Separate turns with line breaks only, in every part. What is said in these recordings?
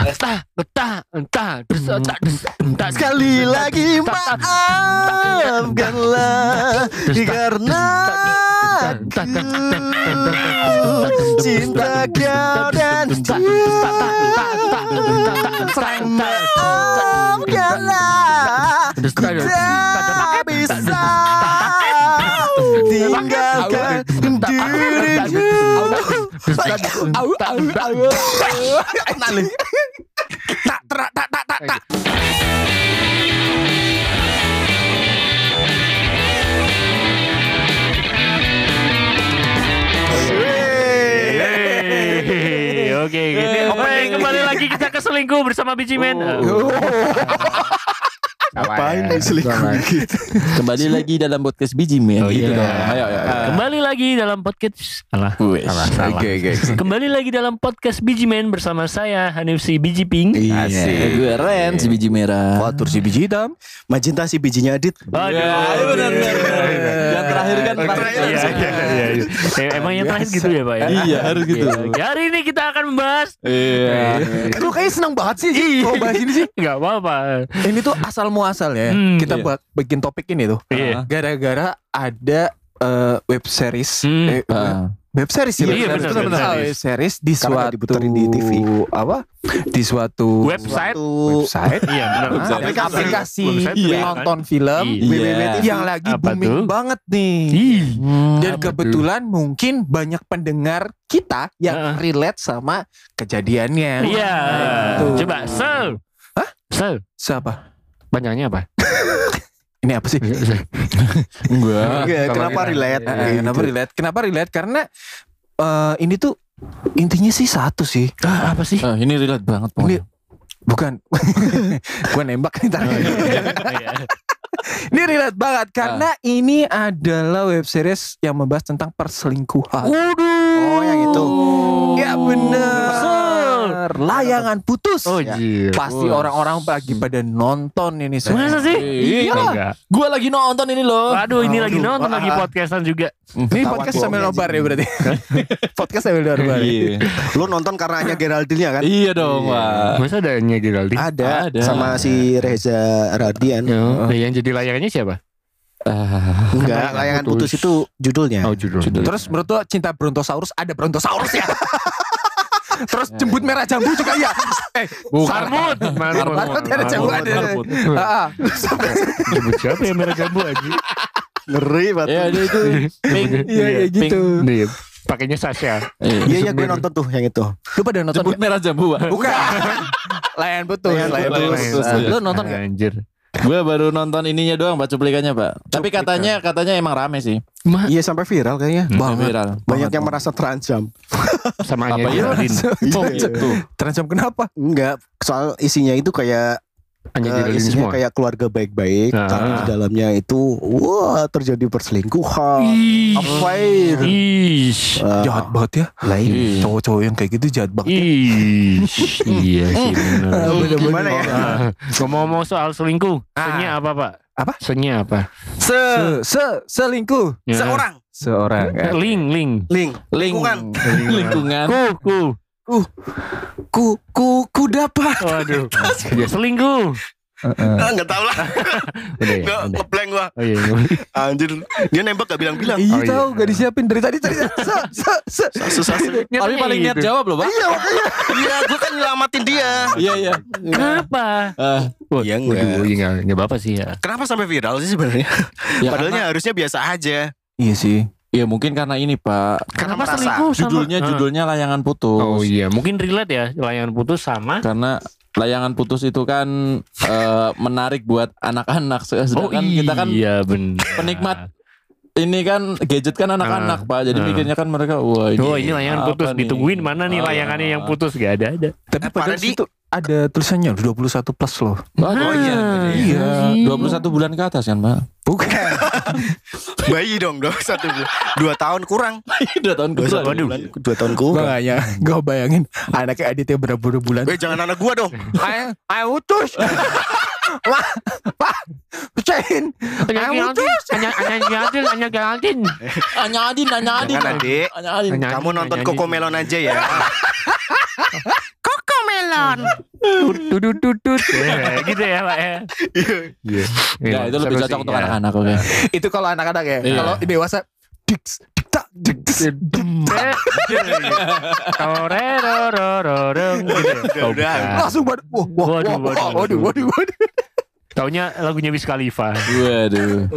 entah entah entah terus
Hmm.
entah terus entah
Sekali lagi maafkanlah Karena aku cinta kau dan dia Maafkanlah Tak bisa Tinggalkan diriku
Au, au, au.
Tak terak tak tak tak tak
Yeay. Oke, gitu. Oke, kembali lagi kita ke selingkuh bersama Biji Eh, Men.
Ngapain nih selingkuh gitu?
Kembali lagi dalam podcast Biji Men.
Oh,
Gitu
iya.
dong. Ayo, ayo, ayo.
Kembali lagi dalam podcast Alah.
Wes.
Oke oke.
Kembali lagi dalam podcast Biji Men bersama saya Hanif si Biji Pink.
Asik.
Eh, Gue Ren si biji merah.
Fatur si biji hitam
Majenta si bijinya Adit.
Waduh.
Yang terakhir kan
Yang
terakhir.
Iya, iya, iya, iya. Eh, Emang yang terakhir gitu ya, Pak? ya?
Iya, harus gitu.
Oke, Hari ini kita akan membahas
Iya.
Lu kayaknya senang banget sih Ji, Kalau bahas ini sih
nggak apa-apa.
Ini tuh asal muasal ya
Hmm.
Kita
Iya.
buat bikin topik ini tuh
Iya.
Gara-gara ada eh, web series
Hmm.
eh, web- Web series
Iya,
ya web
benar,
series.
benar, benar.
Web series di
Karena nggak
suatu
diputerin di TV.
Apa? Di suatu
Website.
Website
Iya, benar.
Website.
aplikasi, aplikasi
Website juga kan?
nonton film
Iya.
Iya.
yang lagi
Apa
booming
tuh? Iya,
banget nih.
Ih.
Dan kebetulan mungkin banyak pendengar kita yang
Heeh.
relate sama kejadiannya.
Iya.
Tuh.
Coba sel.
Hah?
Sel.
Siapa?
Banyaknya apa?
Ini apa
Iya,
sih?
Gua.
Oke, kenapa
Kabarnya.
relate? Iya.
Eh,
iya,
eh, Kenapa relate? Kenapa relate? Karena eh, ini tuh intinya sih satu sih.
Ah, apa sih?
Ah, ini relate banget
Ini
pokoknya.
bukan gue nembak nih
Oh,
tadi.
iya.
Ini relate banget karena ini adalah web series yang membahas tentang perselingkuhan.
Oh, yang itu.
Ya
Betul.
bener Layangan putus
Oh,
Ya.
jir.
Pasti orang-orang lagi pada nonton ini
Masa
saya.
sih?
Iya.
Iyalah.
Enggak.
Gua lagi nonton ini loh.
Waduh, ini lagi
Aduh.
nonton lagi
Ah.
podcastan juga.
Ini podcast
Ketahuan
sambil
bohongnya
nobar
sih.
ya berarti Podcast sambil nobar
Iya.
Lu nonton karena hanya Geraldine-nya kan?
Iya dong, Wak.
Masa ada Nya Geraldine?
Ya,
Ada,
Ah, Ada.
sama si Reza Radian.
Ya, yang jadi layarnya siapa?
Ah,
Enggak, layangan
Putus.
putus itu judulnya.
Oh, judul.
Terus menurut lo cinta Brontosaurus ada Brontosaurus ya Terus jembut merah jambu juga ya Eh
Marmut, Marmut.
Marmut ada jambu
Marmut,
ada
marmut.
Ah, ah.
Jemput siapa yang merah jambu aja?
Ngeri banget.
Ya dia itu pink.
Iya iya
Pink.
gitu
Nih, pakainya Sasha.
Iya.
Iya, iya gue nonton tuh yang itu.
Lu pada nonton
Jemput merah jambu, Wak.
Bukan Layan putus
Layan
Layan
putus.
putus
Iya.
Lu nonton gak?
Anjir.
Gue baru nonton ininya doang, Pak, cuplikannya, Pak. Tapi katanya katanya emang rame sih.
Ma,
Iya sampai viral kayaknya.
Banget
Viral.
Banyak yang merasa terancam.
sama Nya
Apa ya?
Geraldine.
Oh,
Iya.
tuh.
Terancam kenapa?
Enggak, soal isinya itu kayak
Nya
eh,
Geraldine
isinya
semua.
kayak keluarga baik-baik,
Ah.
tapi di dalamnya itu wah terjadi perselingkuhan.
Ih.
Affair.
Ish.
Eh,
Jahat banget ya
lah ini.
Iya.
Cowok-cowok yang kayak gitu jahat banget
Ish. Iya sih bener.
Gimana ya?
Ah, Ngomong-ngomong soal selingkuh, senya apa pak?
Apa?
Senya apa?
se se selingkuh Iya.
Ya.
Seorang
seorang
Ling, ling.
link
Ling-
Lingkungan.
Lingkungan.
Ku, ku.
ku ku ku dapat
Waduh. Ya selingkuh.
Ah, nggak tahu lah
Udah ya.
nggak
Udah.
ngeblank gua
Oh iya.
anjir dia nembak gak bilang-bilang
iya
Oh, iya.
tahu gak disiapin dari tadi tadi se se se
susah sih
Tapi paling
gitu?
niat jawab loh, Pak.
iya makanya iya gua kan nyelamatin dia
Iya, iya.
Kenapa?
Ah,
Iya, enggak.
Waduh, iya enggak enggak apa-apa sih ya.
kenapa sampai viral sih sebenarnya
ya,
padahalnya
karena-
harusnya biasa aja
iya sih
ya mungkin karena ini, Pak.
Karena
Kenapa
merasa.
selingkuh sama
Judulnya
Ah.
judulnya layangan putus.
Oh iya, mungkin relate ya layangan putus sama
Karena layangan putus itu kan eh, menarik buat anak-anak. Sedangkan kita kan
iya benar.
penikmat ini kan gadget kan anak-anak pak jadi
Ah.
mikirnya kan mereka wah ini
Oh ini layangan
Iya, apa
putus
nih?
ditungguin mana nih
Ah.
layangannya yang putus gak ada ada.
tapi padahal
Paradi.
situ ada tulisannya 21 plus loh
oh iya
Hmm.
iya.
iya 21 bulan ke atas kan pak
bukan
bayi dong dong satu bulan. dua tahun kurang
dua tahun ke
Dua
atas
bulan, dua tahun kurang
makanya gak ya, bayangin anaknya Aditya berapa bulan
Eh jangan anak gua dong
ayo ayo utus Wah, pak, pecahin.
Hanya
Ayo
Geraldine,
utus.
hanya hanya Geraldine, hanya Geraldine.
hanya adin hanya adin
Iya. Jangan adik
hanya adin
Hanya-
Kamu nonton
nyanyi.
Coco Melon aja ya
Koko
no melon.
Iya, gitu ya pak ya Iya.
Iya,
Enggak, Nah, itu lebih cocok untuk anak-anak oke.
Itu kalau anak-anak ya.
Iya.
Kalau dewasa diks dikta diks.
Eh, iya. Torerorororong gitu ya?
Udah,
Oh,
udah.
bukan.
Langsung buat wah wah
Waduh,
wah, wah,
waduh,
waduh waduh waduh.
Taunya lagunya Wiz Khalifa
Waduh.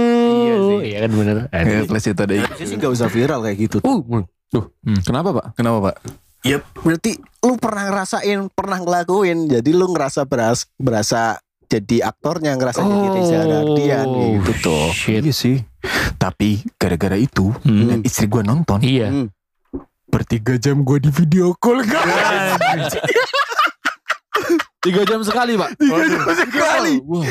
Iya sih Iya kan bener
Ya, plus itu Uh, deh.
Harusnya sih gak usah viral kayak gitu.
Hmm, Kenapa, Pak?
Kenapa, Pak?
Yep. Berarti lu pernah ngerasain, pernah ngelakuin. Jadi lu ngerasa beras, berasa jadi aktornya ngerasa jadi Reza Radian
Oh,
gitu tuh.
Shit
Iya sih. Tapi gara-gara itu
Hmm.
istri gua nonton
Iya
Hmm.
bertiga jam gua di video call kan.
Tiga jam sekali, Pak.
Tiga jam sekali.
Wah.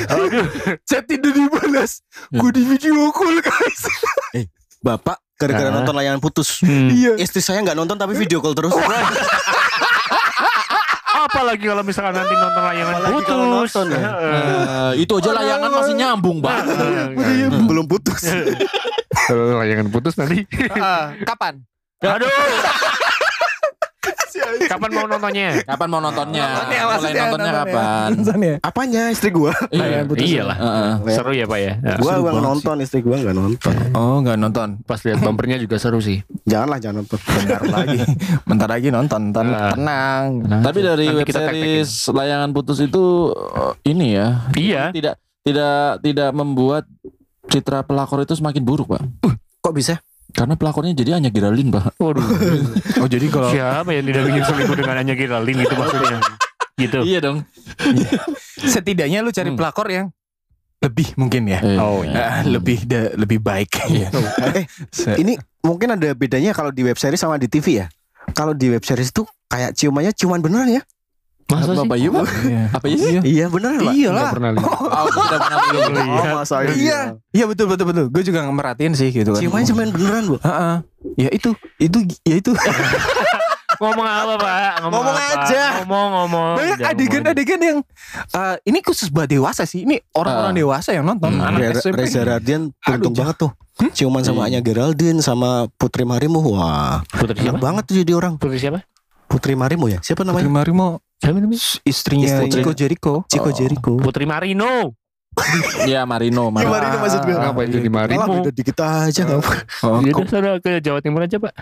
Chat tidak dibalas. Gua di video call kan? guys.
Bapak gara-gara
Ah.
nonton layanan putus.
Iya.
Istri saya nggak nonton tapi video call terus. Nah.
Apalagi kalau misalkan nanti nonton layangan
Apalagi kalau
putus
nonton ya.
Heeh.
Eh, itu aja layangan masih nyambung, Pak.
Heeh.
iya, Belum putus.
Kalau layangan putus nanti Ah,
Kapan?
Aduh Kapan mau nontonnya?
Kapan mau nontonnya?
Nontonnya,
Mulai
ya, maksudnya
nontonnya
nontonnya. ya?
kapan?
Apanya istri gua?
Iya.
Iyalah
Heeh.
Seru ya pak ya Ya.
Gua gua nonton istri gua nggak nonton.
Oh nggak nonton.
Pas lihat bumpernya juga seru sih
Janganlah jangan nonton.
Bentar lagi. Bentar lagi nonton. Tenang.
Nah.
Ah.
tenang.
Tapi dari
Nanti
web
kita tag-tagin.
series layangan putus itu eh, ini ya.
Iya
Tidak tidak tidak membuat citra pelakor itu semakin buruk, Pak.
Kok bisa?
Karena pelakornya jadi hanya Geraldine, Pak.
Waduh
Oh jadi kalau
Siapa yang tidak ingin selingkuh dengan hanya Geraldine itu maksudnya? gitu.
Iya dong.
setidaknya lu cari
Hmm.
pelakor yang lebih mungkin ya.
Eh,
Oh,
iya.
Ah, lebih da- lebih baik.
Eh,
Se-
ini mungkin ada bedanya kalau di web series sama di TV ya. Kalau di web series tuh kayak ciumannya ciuman beneran ya?
Masa sih? Apa iya, Pak?
Iya.
Apa iya sih?
Iya beneran pak.
Iyalah.
pernah lihat.
Oh, tidak pernah lihat.
Oh, masa
Iya, iya betul betul betul. Gue juga merhatiin sih gitu kan.
Ciumannya ciuman beneran bu.
Heeh. Ya itu, itu, ya itu.
Ngomong apa, Pak?
Ngomong
apa?
aja.
Ngomong, ngomong.
Banyak
Udah, ngomong
adegan-adegan yang eh, ini khusus buat dewasa sih. Ini orang-orang
Ah.
dewasa yang nonton.
Hmm.
Reza,
Anak SMP.
Reza Radian beruntung
Aduh,
banget tuh. Ciuman sama
Iya.
Anya Geraldine sama Putri Marimo. Wah,
aja. Putri
enak
siapa?
banget tuh jadi orang.
Putri siapa?
Putri Marimo ya? Siapa
Putri
namanya?
Marimo
Siapa namanya?
istrinya
Istrinya.
Chico Jericho.
Chico Jericho.
Putri Marino.
Iya, Marino, Marino.
Marino maksud gue.
Ngapain jadi
Kalah beda di kita aja nggak apa.
Oh,
Jadi
kok-
Ya saudara ke Jawa Timur aja, Pak.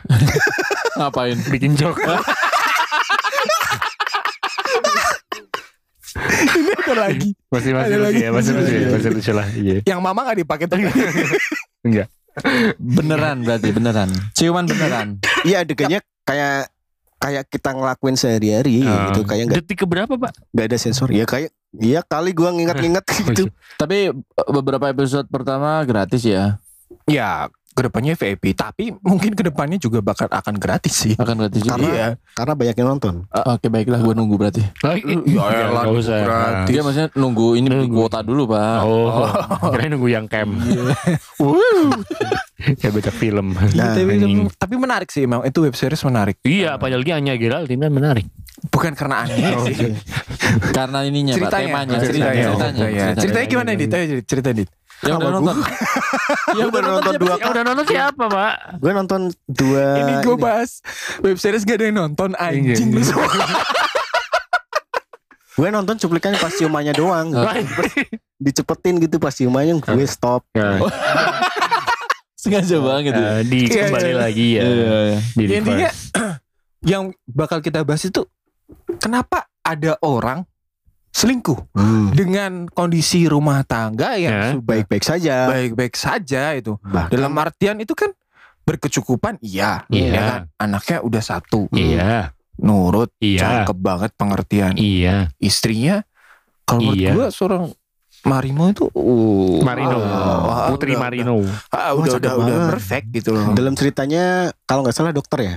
Ngapain?
Bikin jok.
ini ada lagi.
Masih masih
Ada
lucu
lagi.
ya, masih lucu ya, masih lucu lah. Iya.
Yang mama gak dipakai tuh.
Beneran berarti, beneran. Ciuman beneran.
Iya adegannya kayak kayak kita ngelakuin sehari-hari
Ah.
gitu kayak nggak
Detik ke berapa, Pak?
nggak ada sensor ya kayak Iya kali gua ngingat-ngingat gitu
iya.
Tapi eh, beberapa episode pertama gratis ya.
ya, kedepannya VIP. Tapi mungkin kedepannya juga bakal akan gratis sih. Iya.
Akan gratis juga.
Karena- karena banyak yang nonton.
Eh, Oke, baiklah gua nunggu berarti.
ya elah,
nggak usah.
gratis.
Dia maksudnya nunggu ini di
Nunggu.
kuota dulu,
Nah.
Pak.
Oh, kirain nunggu yang camp. Kayak baca film.
Nah,
Iya, tapi,
anjing.
tapi menarik sih emang itu web series menarik.
Iya, apalagi hanya Geraldine kan menarik.
Bukan karena aneh sih.
Karena ininya, Iya, Pak, temanya, ceritanya,
ceritanya, ceritanya, ceritanya,
ceritanya.
gimana Dit? Ayo Dit, cerita Dit.
Yang udah nonton. Yang udah nonton dua
Yang udah nonton siapa, Pak?
gue nonton dua
ini gue bahas web series gak ada yang nonton anjing lu semua.
Gue nonton cuplikan pas ciumannya doang.
Ah.
Dicepetin gitu pas ciumannya gue stop.
Ya,
Sengaja banget ya.
eh, di
Iya,
kembali
iya.
lagi ya.
Iya, iya.
Di
Ya, Intinya
reverse.
yang bakal kita bahas itu kenapa ada orang selingkuh dengan kondisi rumah tangga
Ya.
Hmm.
yang sudah
Baik-baik saja.
baik-baik saja itu.
Bahkan-
Dalam artian itu kan berkecukupan iya,
Iya.
ya kan? Anaknya udah satu.
Iya,
Nurut,
iya,
cakep banget pengertian.
iya.
istrinya kalau menurut
Iya.
gua seorang Marimo itu uh,
Marino,
wah,
Putri
udah,
Marino.
udah,
Wah,
ah, udah, udah,
cakep
udah
banget.
perfect gitu loh.
Dalam ceritanya kalau nggak salah dokter ya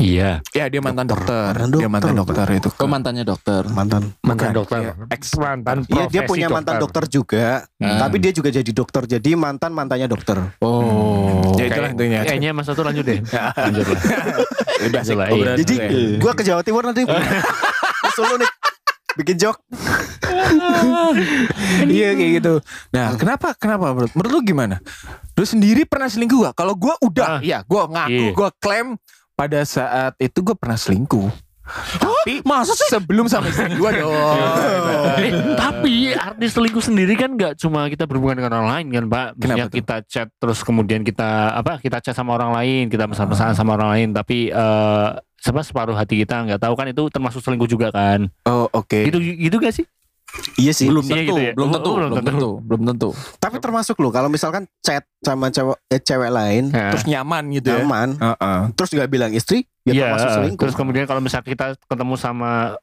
Iya,
Ya dia mantan dokter,
Mantan
dia
dokter.
mantan dokter itu.
Kok mantannya dokter?
mantan.
mantan
Bukan,
dokter.
iya.
Ex mantan
Iya dia
profesi
punya mantan
Ya,
dokter, juga.
Hmm.
Tapi dia juga jadi dokter. Jadi mantan mantannya dokter.
Oh.
Ya itulah intinya.
Kayaknya Mas Satu lanjut deh.
Iya.
lanjut lah.
Udah
Itulah, iya.
obrolan
Jadi
dulu ya.
gue ke Jawa Timur nanti. Nyusul lu nih. Bikin jok.
Iya kayak gitu. Nah, kenapa kenapa menurut, menurut lu gimana? Lu sendiri pernah selingkuh gak? Kalau gua udah,
Ah.
ya gua ngaku,
Iya.
gua klaim pada saat itu gua pernah selingkuh. Tapi masa sebelum sama istri gua
Iya,
dong.
Oh.
Eh, tapi artis selingkuh sendiri kan nggak cuma kita berhubungan dengan orang lain kan pak Maksudnya
Kenapa tuh?
kita chat terus kemudian kita apa kita chat sama orang lain kita
Ah.
pesan-pesan sama orang lain tapi eh apa, separuh hati kita nggak tahu kan itu termasuk selingkuh juga kan
Oh, oke.
gitu gitu gak sih
Iya sih.
belum
Iya
tentu,
gitu ya.
belum tentu,
Oh, belum
belum
tentu.
tentu, belum tentu.
Tapi termasuk loh kalau misalkan chat sama cewek eh, cewek lain
Ya.
Terus nyaman gitu ya.
aman,
Heeh.
terus nggak bilang istri, ya
Iya,
termasuk
eh,
selingkuh.
terus kemudian kalau misalnya kita ketemu sama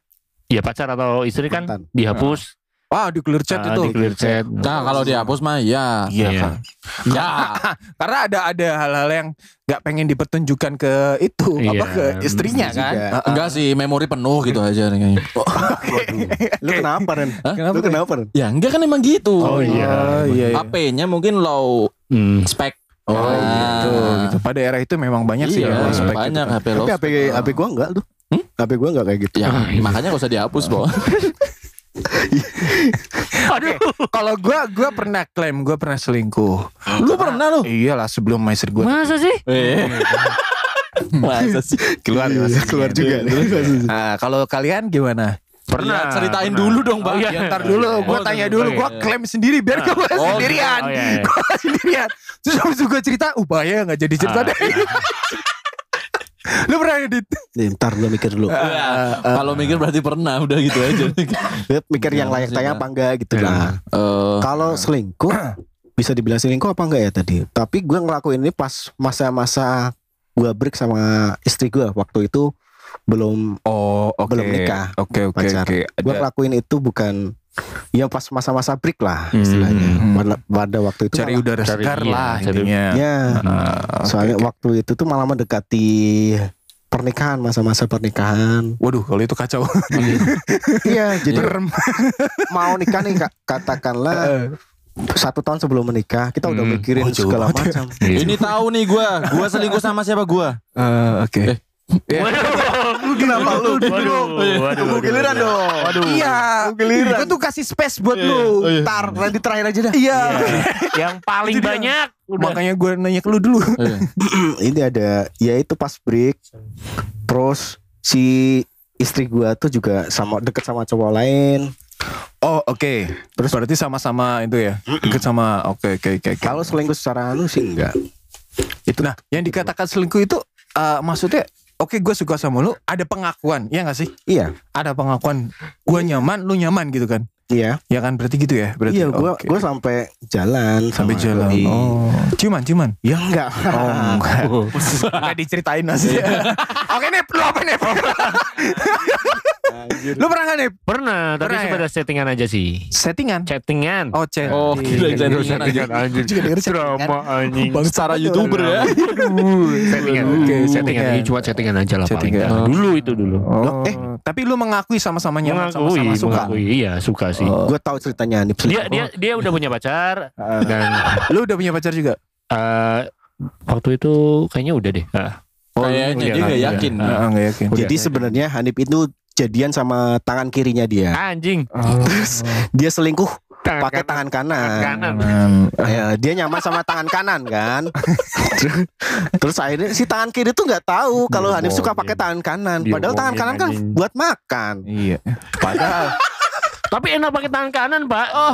ya pacar atau istri kan
Mantan.
dihapus
Wah, di clear chat
ah,
itu.
di clear chat
Nah, kalau dihapus mah ya.
Iya.
Kan? Ya.
Karena ada ada hal-hal yang nggak pengen dipertunjukkan ke itu
Iya.
apa ke istrinya
Juga.
kan.
Ah,
Heeh.
Enggak sih, memori penuh gitu aja nih kayaknya.
Lu kenapa Ren?
Hah?
Lu kenapa Ren?
Ya, enggak kan emang gitu.
Oh, iya.
Oh, iya. iya.
HP-nya mungkin low
Hmm.
spec.
Oh gitu,
Nah.
gitu. Pada era itu memang banyak sih
Iya,
yang low spec gitu
banyak
kan.
HP low
Tapi
spec.
HP HP gua enggak tuh.
Hmm?
HP gua enggak kayak gitu.
Ya, makanya gak usah dihapus, Bo.
aduh
Kalau gua gua pernah klaim gua pernah selingkuh.
Lu pernah
Oh.
lu?
Iyalah sebelum sama istri gua
masa sih
Eh. Masa sih?
keluar ya, maksudnya.
keluar juga.
Nah, kalau kalian gimana?
Iya,
Pernah ceritain
pernah.
dulu dong,
Oh,
Bang.
iya.
Ya, ntar
Dulu gua
Oh,
tanya
tentu.
dulu,
Oh, iya,
gua
iya.
klaim sendiri biar gua
Oh,
sendirian.
oh, iya, iya.
Gua sendirian. Terus habis itu gua cerita, uh bahaya nggak jadi cerita
Ah,
deh. Lu pernah edit?
Nih, ntar gua mikir dulu.
Ya, Kalau mikir berarti pernah udah gitu aja.
Lihat, mikir
Iya,
yang layak tanya apa enggak
Ya.
gitu lah.
Eh,
Kalau selingkuh bisa dibilang selingkuh apa enggak ya tadi? Tapi gue ngelakuin ini pas masa-masa gue break sama istri gue waktu itu belum
Oh, oke.
Belum nikah.
Oke, oke,
Pacaran.
oke.
gue
Ada-
ngelakuin itu bukan ya pas masa-masa break lah istilahnya.
Hmm.
Pada, pada waktu itu
Cari
malah-
udara
Cari-
segar
iya,
lah
cari-
intinya.
ya
Ah, oke.
soalnya waktu itu tuh malah mendekati pernikahan masa-masa pernikahan.
Waduh, kalau itu kacau.
Iya, jadi
Merem.
mau nikah nih Kak. katakanlah
Eh,
satu tahun sebelum menikah kita udah
Hmm.
mikirin
Oh, jauh
segala
banget
macam.
ini tahu nih gua, gua selingkuh sama siapa gua?
Eh, oke.
kenapa lu waduh waduh
Tunggu giliran dong.
waduh
Iya,
giliran.
gue tuh kasih space buat lu.
Ntar nanti terakhir aja dah.
Iya.
yang paling banyak udah
Makanya gue nanya ke lu dulu.
Eh,
Ini ada ya itu pas break. Terus si istri gua tuh juga sama deket sama cowok lain.
Oh, oke. Terus berarti sama-sama itu ya. Ikut sama oke oke oke. oke.
Kalau selingkuh secara anu sih enggak.
itu nah, yang dikatakan selingkuh itu eh, maksudnya oke gue suka sama lu, ada pengakuan, ya gak sih?
Iya.
Ada pengakuan. Gue nyaman, lu nyaman gitu kan.
Iya.
Ya kan berarti gitu ya, berarti.
Iya, gua
oke.
gua sampai jalan
sampai
sama
jalan.
doi.
Oh. Cuman, cuman.
Ya enggak.
Oh, enggak. Enggak diceritain maksudnya. Oke, Nip, lu apa Nip? lu pernah gak Nip?
pernah tapi
Pernah ya?
sebentar settingan aja sih
Settingan.
chattingan
Oh, chat.
Oh, gila, jangan-
Iya, iya,
jangan-
iya.
jangan-
anjing
Juga denger
drama anjing
Secara youtuber ya.
settingan
Oke,
settingan
settingan.
ini cuma chattingan aja lah paling
Chattingan.
nggak. dulu itu dulu
Oh, eh, tapi lu mengakui sama-sama nyaman
mengakui
sama-sama suka.
mengakui iya suka sih
Gue tahu ceritanya Hanif
dia
selingkuh.
dia dia udah punya pacar dan
Lu udah punya pacar juga?
eh, waktu itu kayaknya udah deh Ah.
Kayaknya dia
iya,
gak
iya.
yakin.
Heeh, enggak Nah, yakin.
Jadi sebenarnya Hanif itu jadian sama tangan kirinya dia.
anjing
Oh, Terus
Dia selingkuh
Tangan
pakai
kanan.
tangan kanan.
kanan
Ya, dia nyaman sama tangan kanan kan. Terus- Terus akhirnya si tangan kiri tuh nggak tahu kalau Hanif suka pakai tangan kanan.
Dia
Padahal tangan kanan
bohongin,
kan
anjing.
buat makan.
Iya.
Padahal
tapi enak pakai tangan kanan pak oh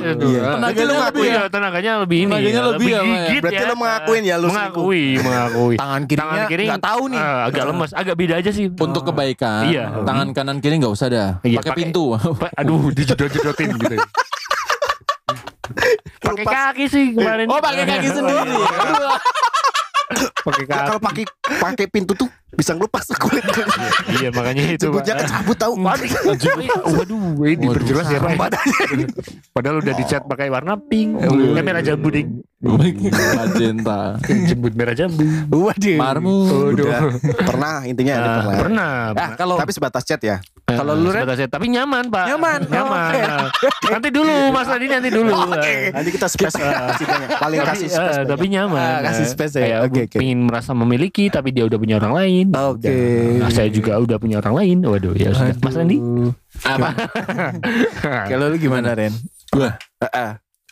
Tenaganya
iya.
tenaganya
lebih
lebih
ya?
ya tenaganya lebih ini
Tenaganya lebih ya, Pak, ya?
gigit
berarti lo mengakuin ya lu selingkuh.
mengakui mengakui
Tangan Ah. kirinya
tangan kiri
nggak tahu nih.
eh, agak lemes agak beda aja sih
Untuk kebaikan,
Iya.
tangan kanan kiri nggak usah dah.
Iya,
Pakai
pakai-
pintu.
Pa- aduh dijedot-jedotin gitu pakai
Lepas-
kaki sih kemarin Iya.
Oh, pakai kaki sendiri.
pakai
ya,
kaki
kalau pakai pakai pintu tuh bisa ngelupas kulit.
iya makanya itu Pak.
Jebutnya kecabut tahu.
Waduh, ini diperjelas ya Pak. Padahal udah dicat pakai warna pink. Eh, merah jambu ding.
Magenta.
Jembut merah jambu.
Waduh.
Marmu.
Pernah intinya Hanif
Nah,
pernah.
pernah.
Ah, kalau
Tapi sebatas chat ya.
Eh,
kalau lu, Ren?
sebatas ya. tapi nyaman pak.
Nyaman. Oh,
nyaman.
Oke. Oh,
Nah, Nanti dulu Mas Adi nanti dulu.
Nanti kita space kasih banyak. Paling
Tapi,
kasih
eh,
space banyak.
tapi nyaman.
Ah, kasih
Eh,
space ya.
kayak
Oke,
gua
oke.
Pingin merasa memiliki tapi dia udah punya orang lain.
Oke.
Nah, saya juga udah punya orang lain. Waduh, ya sudah. Mas Andi.
Apa?
Kalau lu gimana, Ren?
Wah.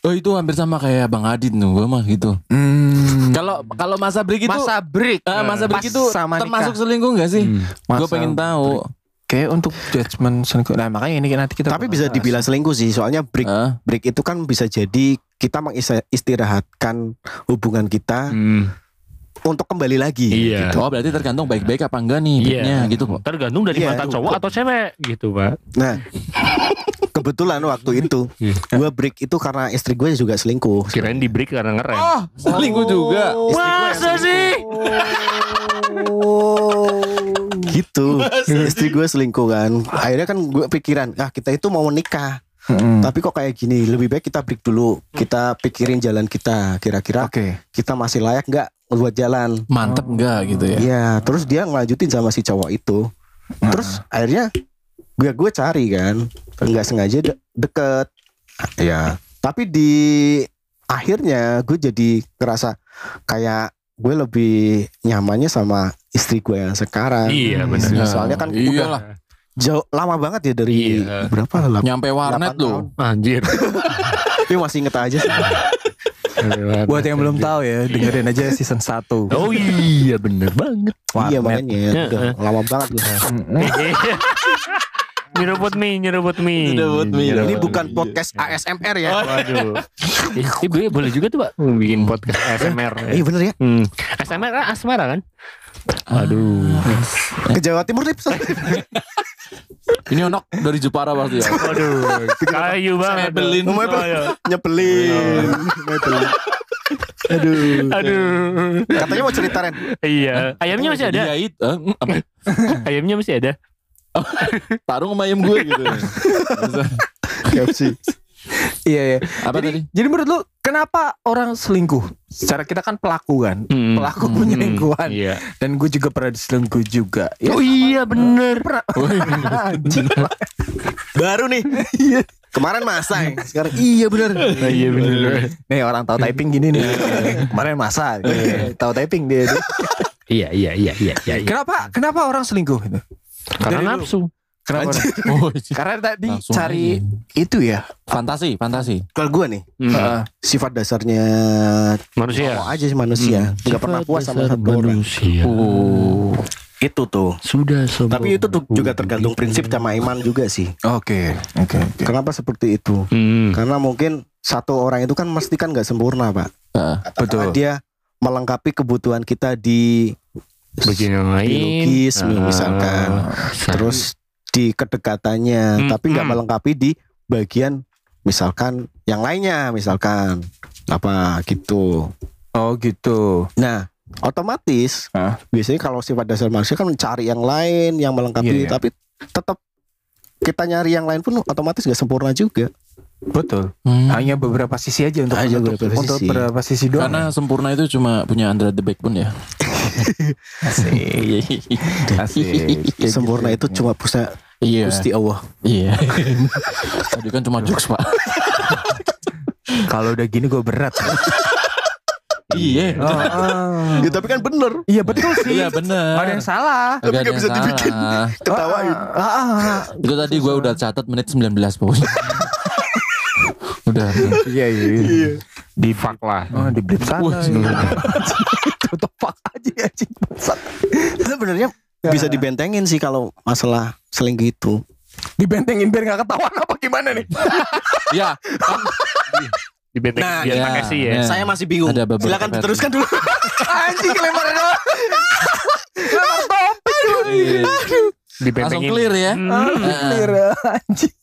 Oh itu hampir sama kayak Bang Adit nuh, gua mah gitu.
Hmm.
Kalau kalau masa break itu
Ah, masa break.
Eh, masa break
Pas
itu
sama
termasuk selingkuh gak sih? Gue pengen tahu.
Oke, untuk judgement selingkuh. Nah, makanya ini nanti kita
Tapi bisa dibilang selingkuh sih, soalnya break
Hah?
break itu kan bisa jadi kita mengistirahatkan hubungan kita
Hmm.
untuk kembali lagi.
Iya.
gitu.
Oh berarti tergantung baik-baik apa enggak nih
Iya.
baiknya gitu kok.
Tergantung dari
Iya,
mata
itu.
cowok atau cewek gitu, Pak.
Nah, kebetulan waktu itu
Hmm.
gue break itu karena istri gue juga selingkuh.
Kirain di break karena ngerem.
Oh selingkuh juga.
Oh,
Masa sih?
Gitu. istri gue selingkuh kan. Akhirnya kan gue pikiran, ah kita itu mau menikah,
Hmm.
tapi kok kayak gini. Lebih baik kita break dulu. Kita pikirin jalan kita. Kira-kira
Oke.
kita masih layak nggak buat jalan?
Mantep enggak gitu ya?
Iya, terus dia ngelanjutin sama si cowok itu. Terus akhirnya gue gue cari kan, nggak sengaja de- deket. Ya, tapi di akhirnya gue jadi ngerasa kayak gue lebih nyamannya sama istri gue yang sekarang.
Iya, benar.
Istri- Soalnya kan
Iya.
udah jauh lama banget ya dari
Iya.
berapa lah?
Nyampe warnet
Delapan
loh.
Anjir.
Tapi masih inget aja sih.
Buat yang belum tahu ya, dengerin aja season 1.
Oh iya bener banget.
iya
Warnet.
makanya udah lama banget loh.
Iya. nyerobot mie, nyerobot mie.
Nyerobot mie.
Ini
Iya.
bukan podcast ASMR ya.
Waduh. Hmm. Eh, eh, Oh. gue boleh juga tuh, Pak, bikin podcast ASMR. ya.
Iya bener ya.
Hmm. ASMR kan asmara kan? Aduh.
Ah.
Ke Jawa Timur nih.
Ini anak dari Jepara pasti ya.
Waduh. Kayu banget.
Maybelline.
Oh, iya.
nyebelin, nyebelin. Aduh.
Aduh.
Katanya mau cerita Ren.
Iya. Ayamnya masih ada.
Iya itu. Eh, apa?
Ayamnya masih ada.
Tarung sama ayam gue gitu.
KFC.
Iya, iya.
apa
jadi,
tadi?
jadi menurut lu kenapa orang selingkuh? Secara kita kan pelaku kan.
Hmm.
Pelaku
Hmm.
penyelingkuhan.
Iya.
Dan gue juga pernah diselingkuh juga. Ya,
Oh iya bener.
anjing.
Baru nih. Kemarin masa ya. Sekarang iya benar.
Iya bener.
Nih orang tahu typing gini nih. Kemarin masa. gitu. tahu typing dia. tuh.
Iya iya iya iya iya. iya.
Kenapa kenapa orang selingkuh gitu? Dari
Karena
dulu.
nafsu.
Kenapa? orang-
Oh,
Karena tadi
Langsung
cari
aja.
itu ya.
fantasi, fantasi.
Kalau gue nih
Hmm.
Heeh.
sifat dasarnya
Manusia.
mau aja sih manusia, Oh,
Hmm.
nggak pernah puas sama satu orang.
manusia.
Oh.
Itu tuh.
Sudah Hmm. sombong.
Tapi itu tuh juga tergantung prinsip sama iman juga sih.
Oke, oke, oke.
Kenapa seperti itu?
Hmm.
Karena mungkin satu orang itu kan mesti kan nggak sempurna pak.
Heeh.
Katakanlah
Betul.
Dia melengkapi kebutuhan kita di
Bagian yang lain.
biologis
Ah,
misalkan.
sa-
terus di
Nah.
kedekatannya
Hmm,
tapi nggak
hmm.
melengkapi di bagian misalkan yang lainnya misalkan apa gitu
Oh gitu.
nah otomatis
Hah?
biasanya kalau sifat dasar manusia kan mencari yang lain yang melengkapi
Iya, iya.
tapi tetap kita nyari yang lain pun otomatis gak sempurna juga
Betul.
Hmm.
Hanya beberapa sisi aja untuk
Hanya
menutup-
beberapa
untuk
sisi.
beberapa sisi doang.
Karena sempurna itu cuma punya Android the Backbone ya.
Asik. Asik.
Iya, sempurna itu cuma pusat
Iya.
Gusti Allah
Iya. Tadi kan cuma jokes, Pak.
Kalau udah gini gue berat.
Iya.
Oh, oh.
ya tapi kan bener
Iya betul sih.
Iya bener.
Ada yang salah.
Tapi
nggak bisa dibikin. ketawain
Ah, ah, ah.
Itu tadi gue udah catat menit 19 pokoknya. udah.
Iya iya. iya.
di fuck lah.
Oh, di blip sana.
Wah,
iya. Tutup pak aja anjing. Bangsat.
sebenarnya bisa dibentengin sih kalau masalah gitu. selingkuh itu
Dibentengin biar gak ketahuan apa gimana nih?
Iya.
Di benteng
Nah,
biar
iya.
pakai sih ya.
Iya.
saya masih bingung
Ada beberapa
silakan
versi.
diteruskan dulu
Anjing lempar doang. Lempar
Iya.
topik. Iya.
Di Hmm.
Langsung clear ya. Heeh.
Clear, Anjing.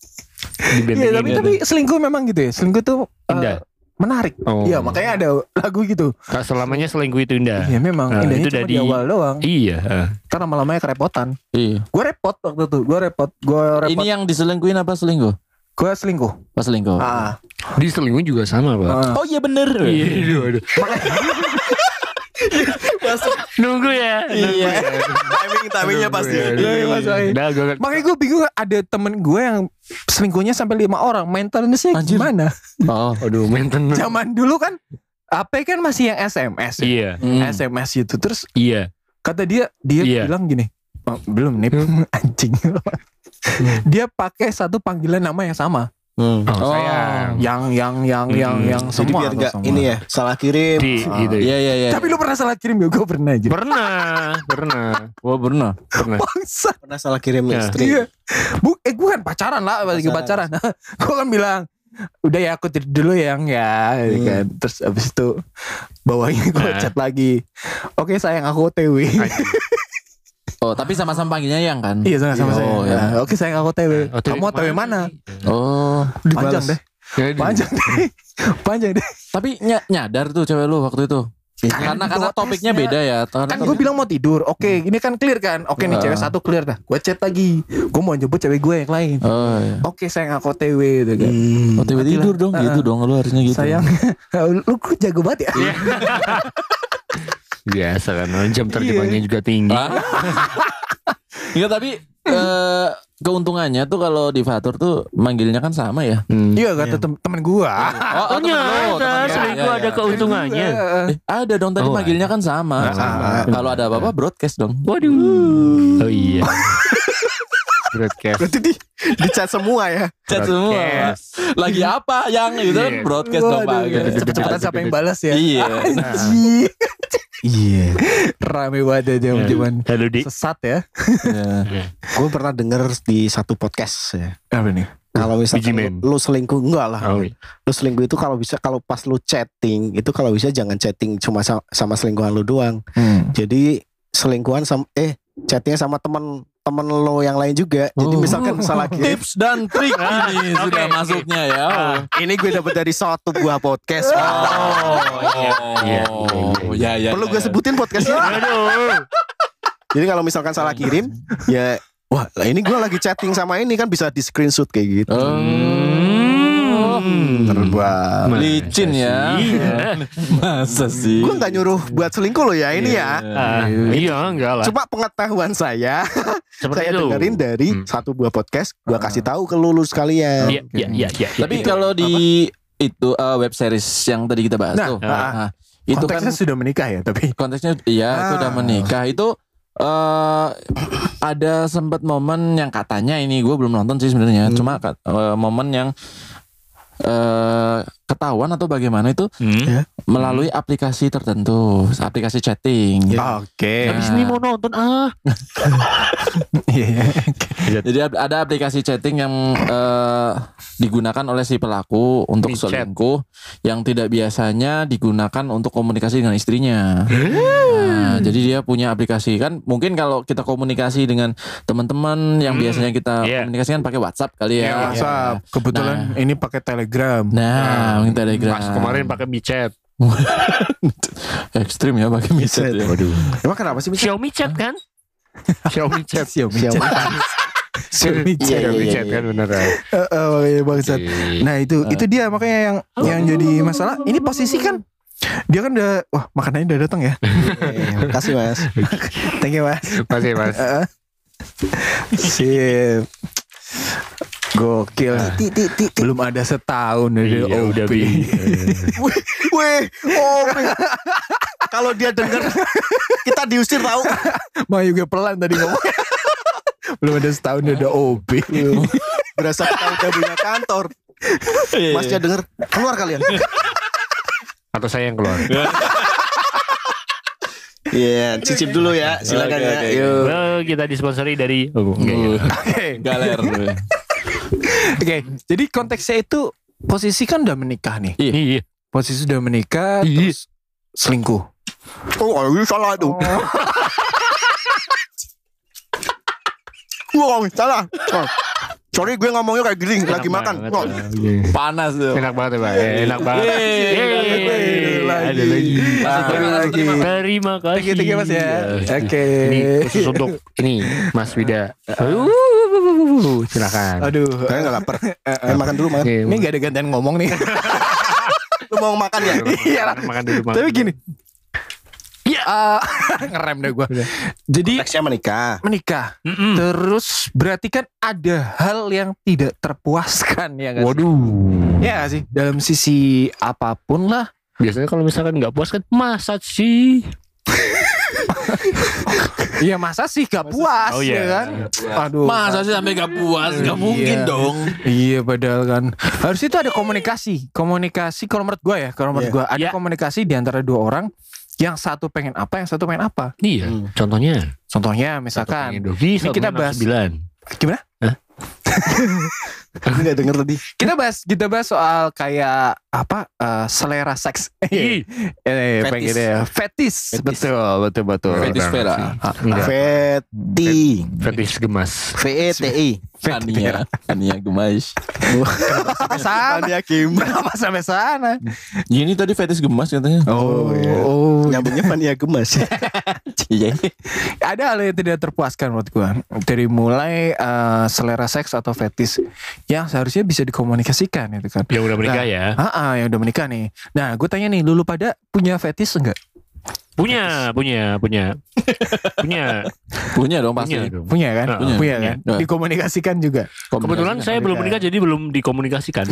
Di
Iya tapi tapi selingkuh memang gitu ya. Selingkuh tuh
ah,
eh,
Indah.
menarik.
Oh.
Iya makanya ada lagu gitu.
Nggak selamanya selingkuh itu indah.
Iya memang
Nah,
indahnya
itu
cuma
dari-
di awal doang.
Iya.
Karena lama-lamanya kerepotan.
Iya.
Gue repot waktu itu. Gue repot. Gue Hmm. repot.
Ini yang diselingkuhin apa selingkuh?
Gue selingkuh.
Pas selingkuh.
Ah.
Di selingkuh juga sama, Pak.
Ah.
Oh iya bener.
Iya, aduh, aduh. Nunggu ya.
Iya.
Nunggu
Iya.
ya.
timing timingnya pasti
Iya, iya, Mas Wahid.
Udah, gue
Makanya gue bingung ada temen gue yang selingkuhnya sampai lima orang. Maintenance-nya
Anjir.
gimana?
Oh.
Aduh, maintenance.
Zaman dulu kan HP kan masih yang SMS. ya.
Iya,
Hmm.
SMS itu gitu. terus
iya.
kata dia dia
Iya.
bilang gini "Oh, "Bang, belum nih anjing dia pakai satu panggilan nama yang sama
Hmm.
Oh, saya
yang yang yang yang
Hmm.
yang
Jadi
semua
biar
atau
nggak
semua?
ini ya salah kirim.
di gitu.
Iya iya iya.
Tapi lu pernah salah kirim gak? Gue pernah aja.
Pernah, pernah,
Wah Oh, pernah.
pernah.
Bangsa.
Pernah salah kirim
Ya.
istri.
Iya. Bu, eh gue kan pacaran lah, lagi pacaran.
Pacaran.
gue kan bilang, udah ya aku tidur dulu yang ya, gitu
Hmm.
kan. Terus abis itu bawahnya gue
Nah.
chat lagi. Oke sayang aku OTW.
Iya. Oh tapi sama-sama panggilnya yang kan.
Iya sama sama
Iya,
saya.
oh, iya.
Nah, Oke sayang aku OTW.
Nah, OTW
Kamu OTW mana?
Oh.
Dipanjang
Males.
deh.
Ya,
Panjang deh.
Hmm.
Panjang deh.
Tapi ny- nyadar tuh cewek lu waktu itu.
Iya kan?
karena
Itu
karena
tesnya.
topiknya beda ya. Karena Hmm.
Kan gue bilang mau tidur. Oke, ini kan clear kan. Oke nih
Nah.
cewek satu clear dah. Gue chat lagi. Gue mau jemput cewek gue yang lain.
Oh iya.
Oke sayang aku OTW gitu kan.
Oh, tiba
Matilah.
tidur dong
Ah.
gitu dong lu harusnya gitu. Iya.
Sayang, lu kok jago banget ya?
Biasa kan, jam terbangnya juga tinggi.
Iya. Ah. Iya tapi eh, keuntungannya tuh kalau di Fatur tuh manggilnya kan sama ya.
Hmm.
Iya kata tem- temen gua.
Oh,
Oh,
temen lu, temen
ada,
lu.
selingkuh
Iya,
ada
iya.
Oh,
keuntungannya.
iya.
Eh, ada dong tadi
Oh,
manggilnya kan sama.
Nah,
Sama.
Kalau ada apa-apa broadcast dong.
Waduh. Oh iya. Broadcast.
Berarti di dicat semua ya.
Chat semua.
Broadcast.
Lagi apa yang gitu kan
Iya.
broadcast dong Pak. gitu,
Cepet-cepetan siapa yang balas ya?
Iya.
Anjir. Iya. Rame banget aja zaman
Halo Dik.
sesat ya.
Iya.
Gue pernah denger di satu podcast ya.
Apa nih?
Kalau
Biji
misalnya
Man.
lu, lu selingkuh enggak lah.
Oh, iya.
Lu selingkuh itu kalau bisa kalau pas lu chatting itu kalau bisa jangan chatting cuma sa- sama selingkuhan lu doang. Jadi selingkuhan sama eh chattingnya sama temen temen lo yang lain juga. Jadi
Oh.
misalkan salah kirim.
Tips dan trik ini
Ah, oke,
sudah
oke.
masuknya ya.
Ini gue dapat dari satu buah podcast.
Ah. iya,
Oh, ya ya.
Perlu
ya,
gue
ya.
sebutin podcastnya.
Aduh.
Jadi kalau misalkan salah kirim, ya wah lah ini gua lagi chatting sama ini kan bisa di screenshot
Oh.
kayak gitu.
Hmm.
Bener banget.
Masa
Licin ya.
sih?
Masa sih?
Gua nggak nyuruh buat selingkuh lo ya ini ya.
Ah, iya enggak lah.
Cuma pengetahuan saya,
Seperti
saya
itu.
dengerin dari
Hmm.
satu buah podcast, gua kasih tahu ke lulus kalian.
Iya, iya, iya, iya.
Tapi
iya.
kalau di itu eh, web series yang tadi kita bahas
Nah,
tuh.
ah.
Nah, itu kan
Konteksnya sudah menikah ya tapi.
konteksnya iya itu
Ah.
udah menikah itu eh ada sempat momen yang katanya ini gue belum nonton sih sebenarnya cuma kat- eh, momen yang eh ketahuan atau bagaimana itu
Hmm.
melalui aplikasi tertentu aplikasi
Iya.
chatting gitu.
Oh, Oke.
Habis ini mau nonton ah.
Iya.
jadi ab- ada aplikasi chatting yang eh, digunakan oleh si pelaku untuk
Micet.
selingkuh yang tidak biasanya digunakan untuk komunikasi dengan istrinya. Nah,
Hmm.
jadi dia punya aplikasi kan mungkin kalau kita komunikasi dengan teman-teman yang
Hmm.
biasanya kita
Iya.
komunikasikan pakai WhatsApp kali
Iya,
ya.
WhatsApp. Kebetulan ini pakai Telegram.
Nah, mungkin Telegram.
Pas Hmm. kemarin pakai micet.
ekstrim ya pakai micet ya.
Waduh. Emang kenapa sih bisa?
Xiaomi chat kan? Xiaomi chat.
Xiaomi.
Siapa?
Xiaomi.
Iya, iya,
Xiaomi
iya,
chat
iya.
kan beneran.
Heeh,
Iya.
bangsat. Nah itu itu dia makanya yang yang jadi masalah ini posisi kan dia kan udah wah makanannya udah datang ya.
Iya, Kasih mas.
Thank you mas.
Masih mas.
Heeh. Sip. Gokil.
Ti ti ti. ti.
Belum ada setahun dari
Iya,
OP.
udah bi.
Weh, oh. Kalau dia denger kita diusir tahu.
Mah juga pelan tadi ngomong. Belum ada setahun dari OP.
Berasa kita udah punya kantor. Masnya denger keluar kalian.
Atau saya yang keluar.
Iya, cicip dulu ya.
Oke,
Silakan ya.
oke,
Yuk.
Well, Eh, kita disponsori dari. Oh, enggak, ya.
Uh, Galer.
Oke, jadi konteksnya itu posisi kan udah menikah nih.
Iya.
Posisi udah menikah terus selingkuh.
Oh, kalau ini salah tuh. Wong, salah. Oh, Sorry gue ngomongnya kayak giling lagi
Enak
makan.
banget,
Oh,
Pak. Iya.
Panas tuh.
Enak banget ya, Pak. Ya, Enak banget.
Yeay,
Yeay, Ada lagi.
Masih terima, masih terima.
Terima kasih. Iya.
Oke, thank you, Mas, ya. Oke.
Ini khusus untuk ini Mas Wida. Uh, silakan.
Aduh.
Saya nggak lapar. Eh, makan dulu makan.
Ini gak ada gantian ngomong nih.
Lu mau makan ya?
Iya lah.
Makan dulu. makan
Tapi
dulu.
gini. Iya. ngerem deh gua. Jadi
Teksnya menikah.
menikah.
Mm-mm.
Terus berarti kan ada hal yang tidak terpuaskan ya kan?
Waduh.
Ya nggak sih dalam sisi apapun lah.
Biasanya kalau misalkan nggak puas kan masa sih.
Iya masa sih gak puas
Oh,
ya
iya.
kan? Aduh.
Masa sih sampai gak puas? Gak
Iya.
mungkin dong.
Iya padahal kan. Harus itu ada komunikasi. Komunikasi kalau menurut gue ya, kalau
Iya.
menurut gue ada
Iya.
komunikasi di antara dua orang yang satu pengen apa, yang satu pengen apa.
Iya,
Hmm.
contohnya
Contohnya
misalkan
misalkan
Indomie,
ini kita bahas-
9.
gimana?
Aku nggak denger tadi.
Kita bahas kita bahas soal kayak apa eh, selera seks. eh,
Fetis.
pengen ya. Fetis. Ah, Betul, betul, betul.
Fetis Vera.
Enggak,
Veti,
fetish gemas.
V E T I.
Iya.
Ania. Ania gemas.
Sampai sana.
Tadi Hakim.
Kenapa sampai sana?
Ini tadi fetis gemas katanya.
Oh, iya.
oh.
Nyambungnya Fania Gemas.
Iya.
ada hal yang tidak terpuaskan menurut gua dari mulai eh, selera seks atau fetis yang seharusnya bisa dikomunikasikan itu kan
Yang udah menikah ya.
ah ah, yang udah menikah nih nah gue tanya nih lulu pada punya fetis enggak
Punya, punya, punya. punya,
Punya dong pasti.
punya dong.
punya kan
Nah,
punya
punya.
kan
Nah.
dikomunikasikan juga
Kebetulan
Komunikasi.
saya belum menikah
menikah.
jadi belum dikomunikasikan.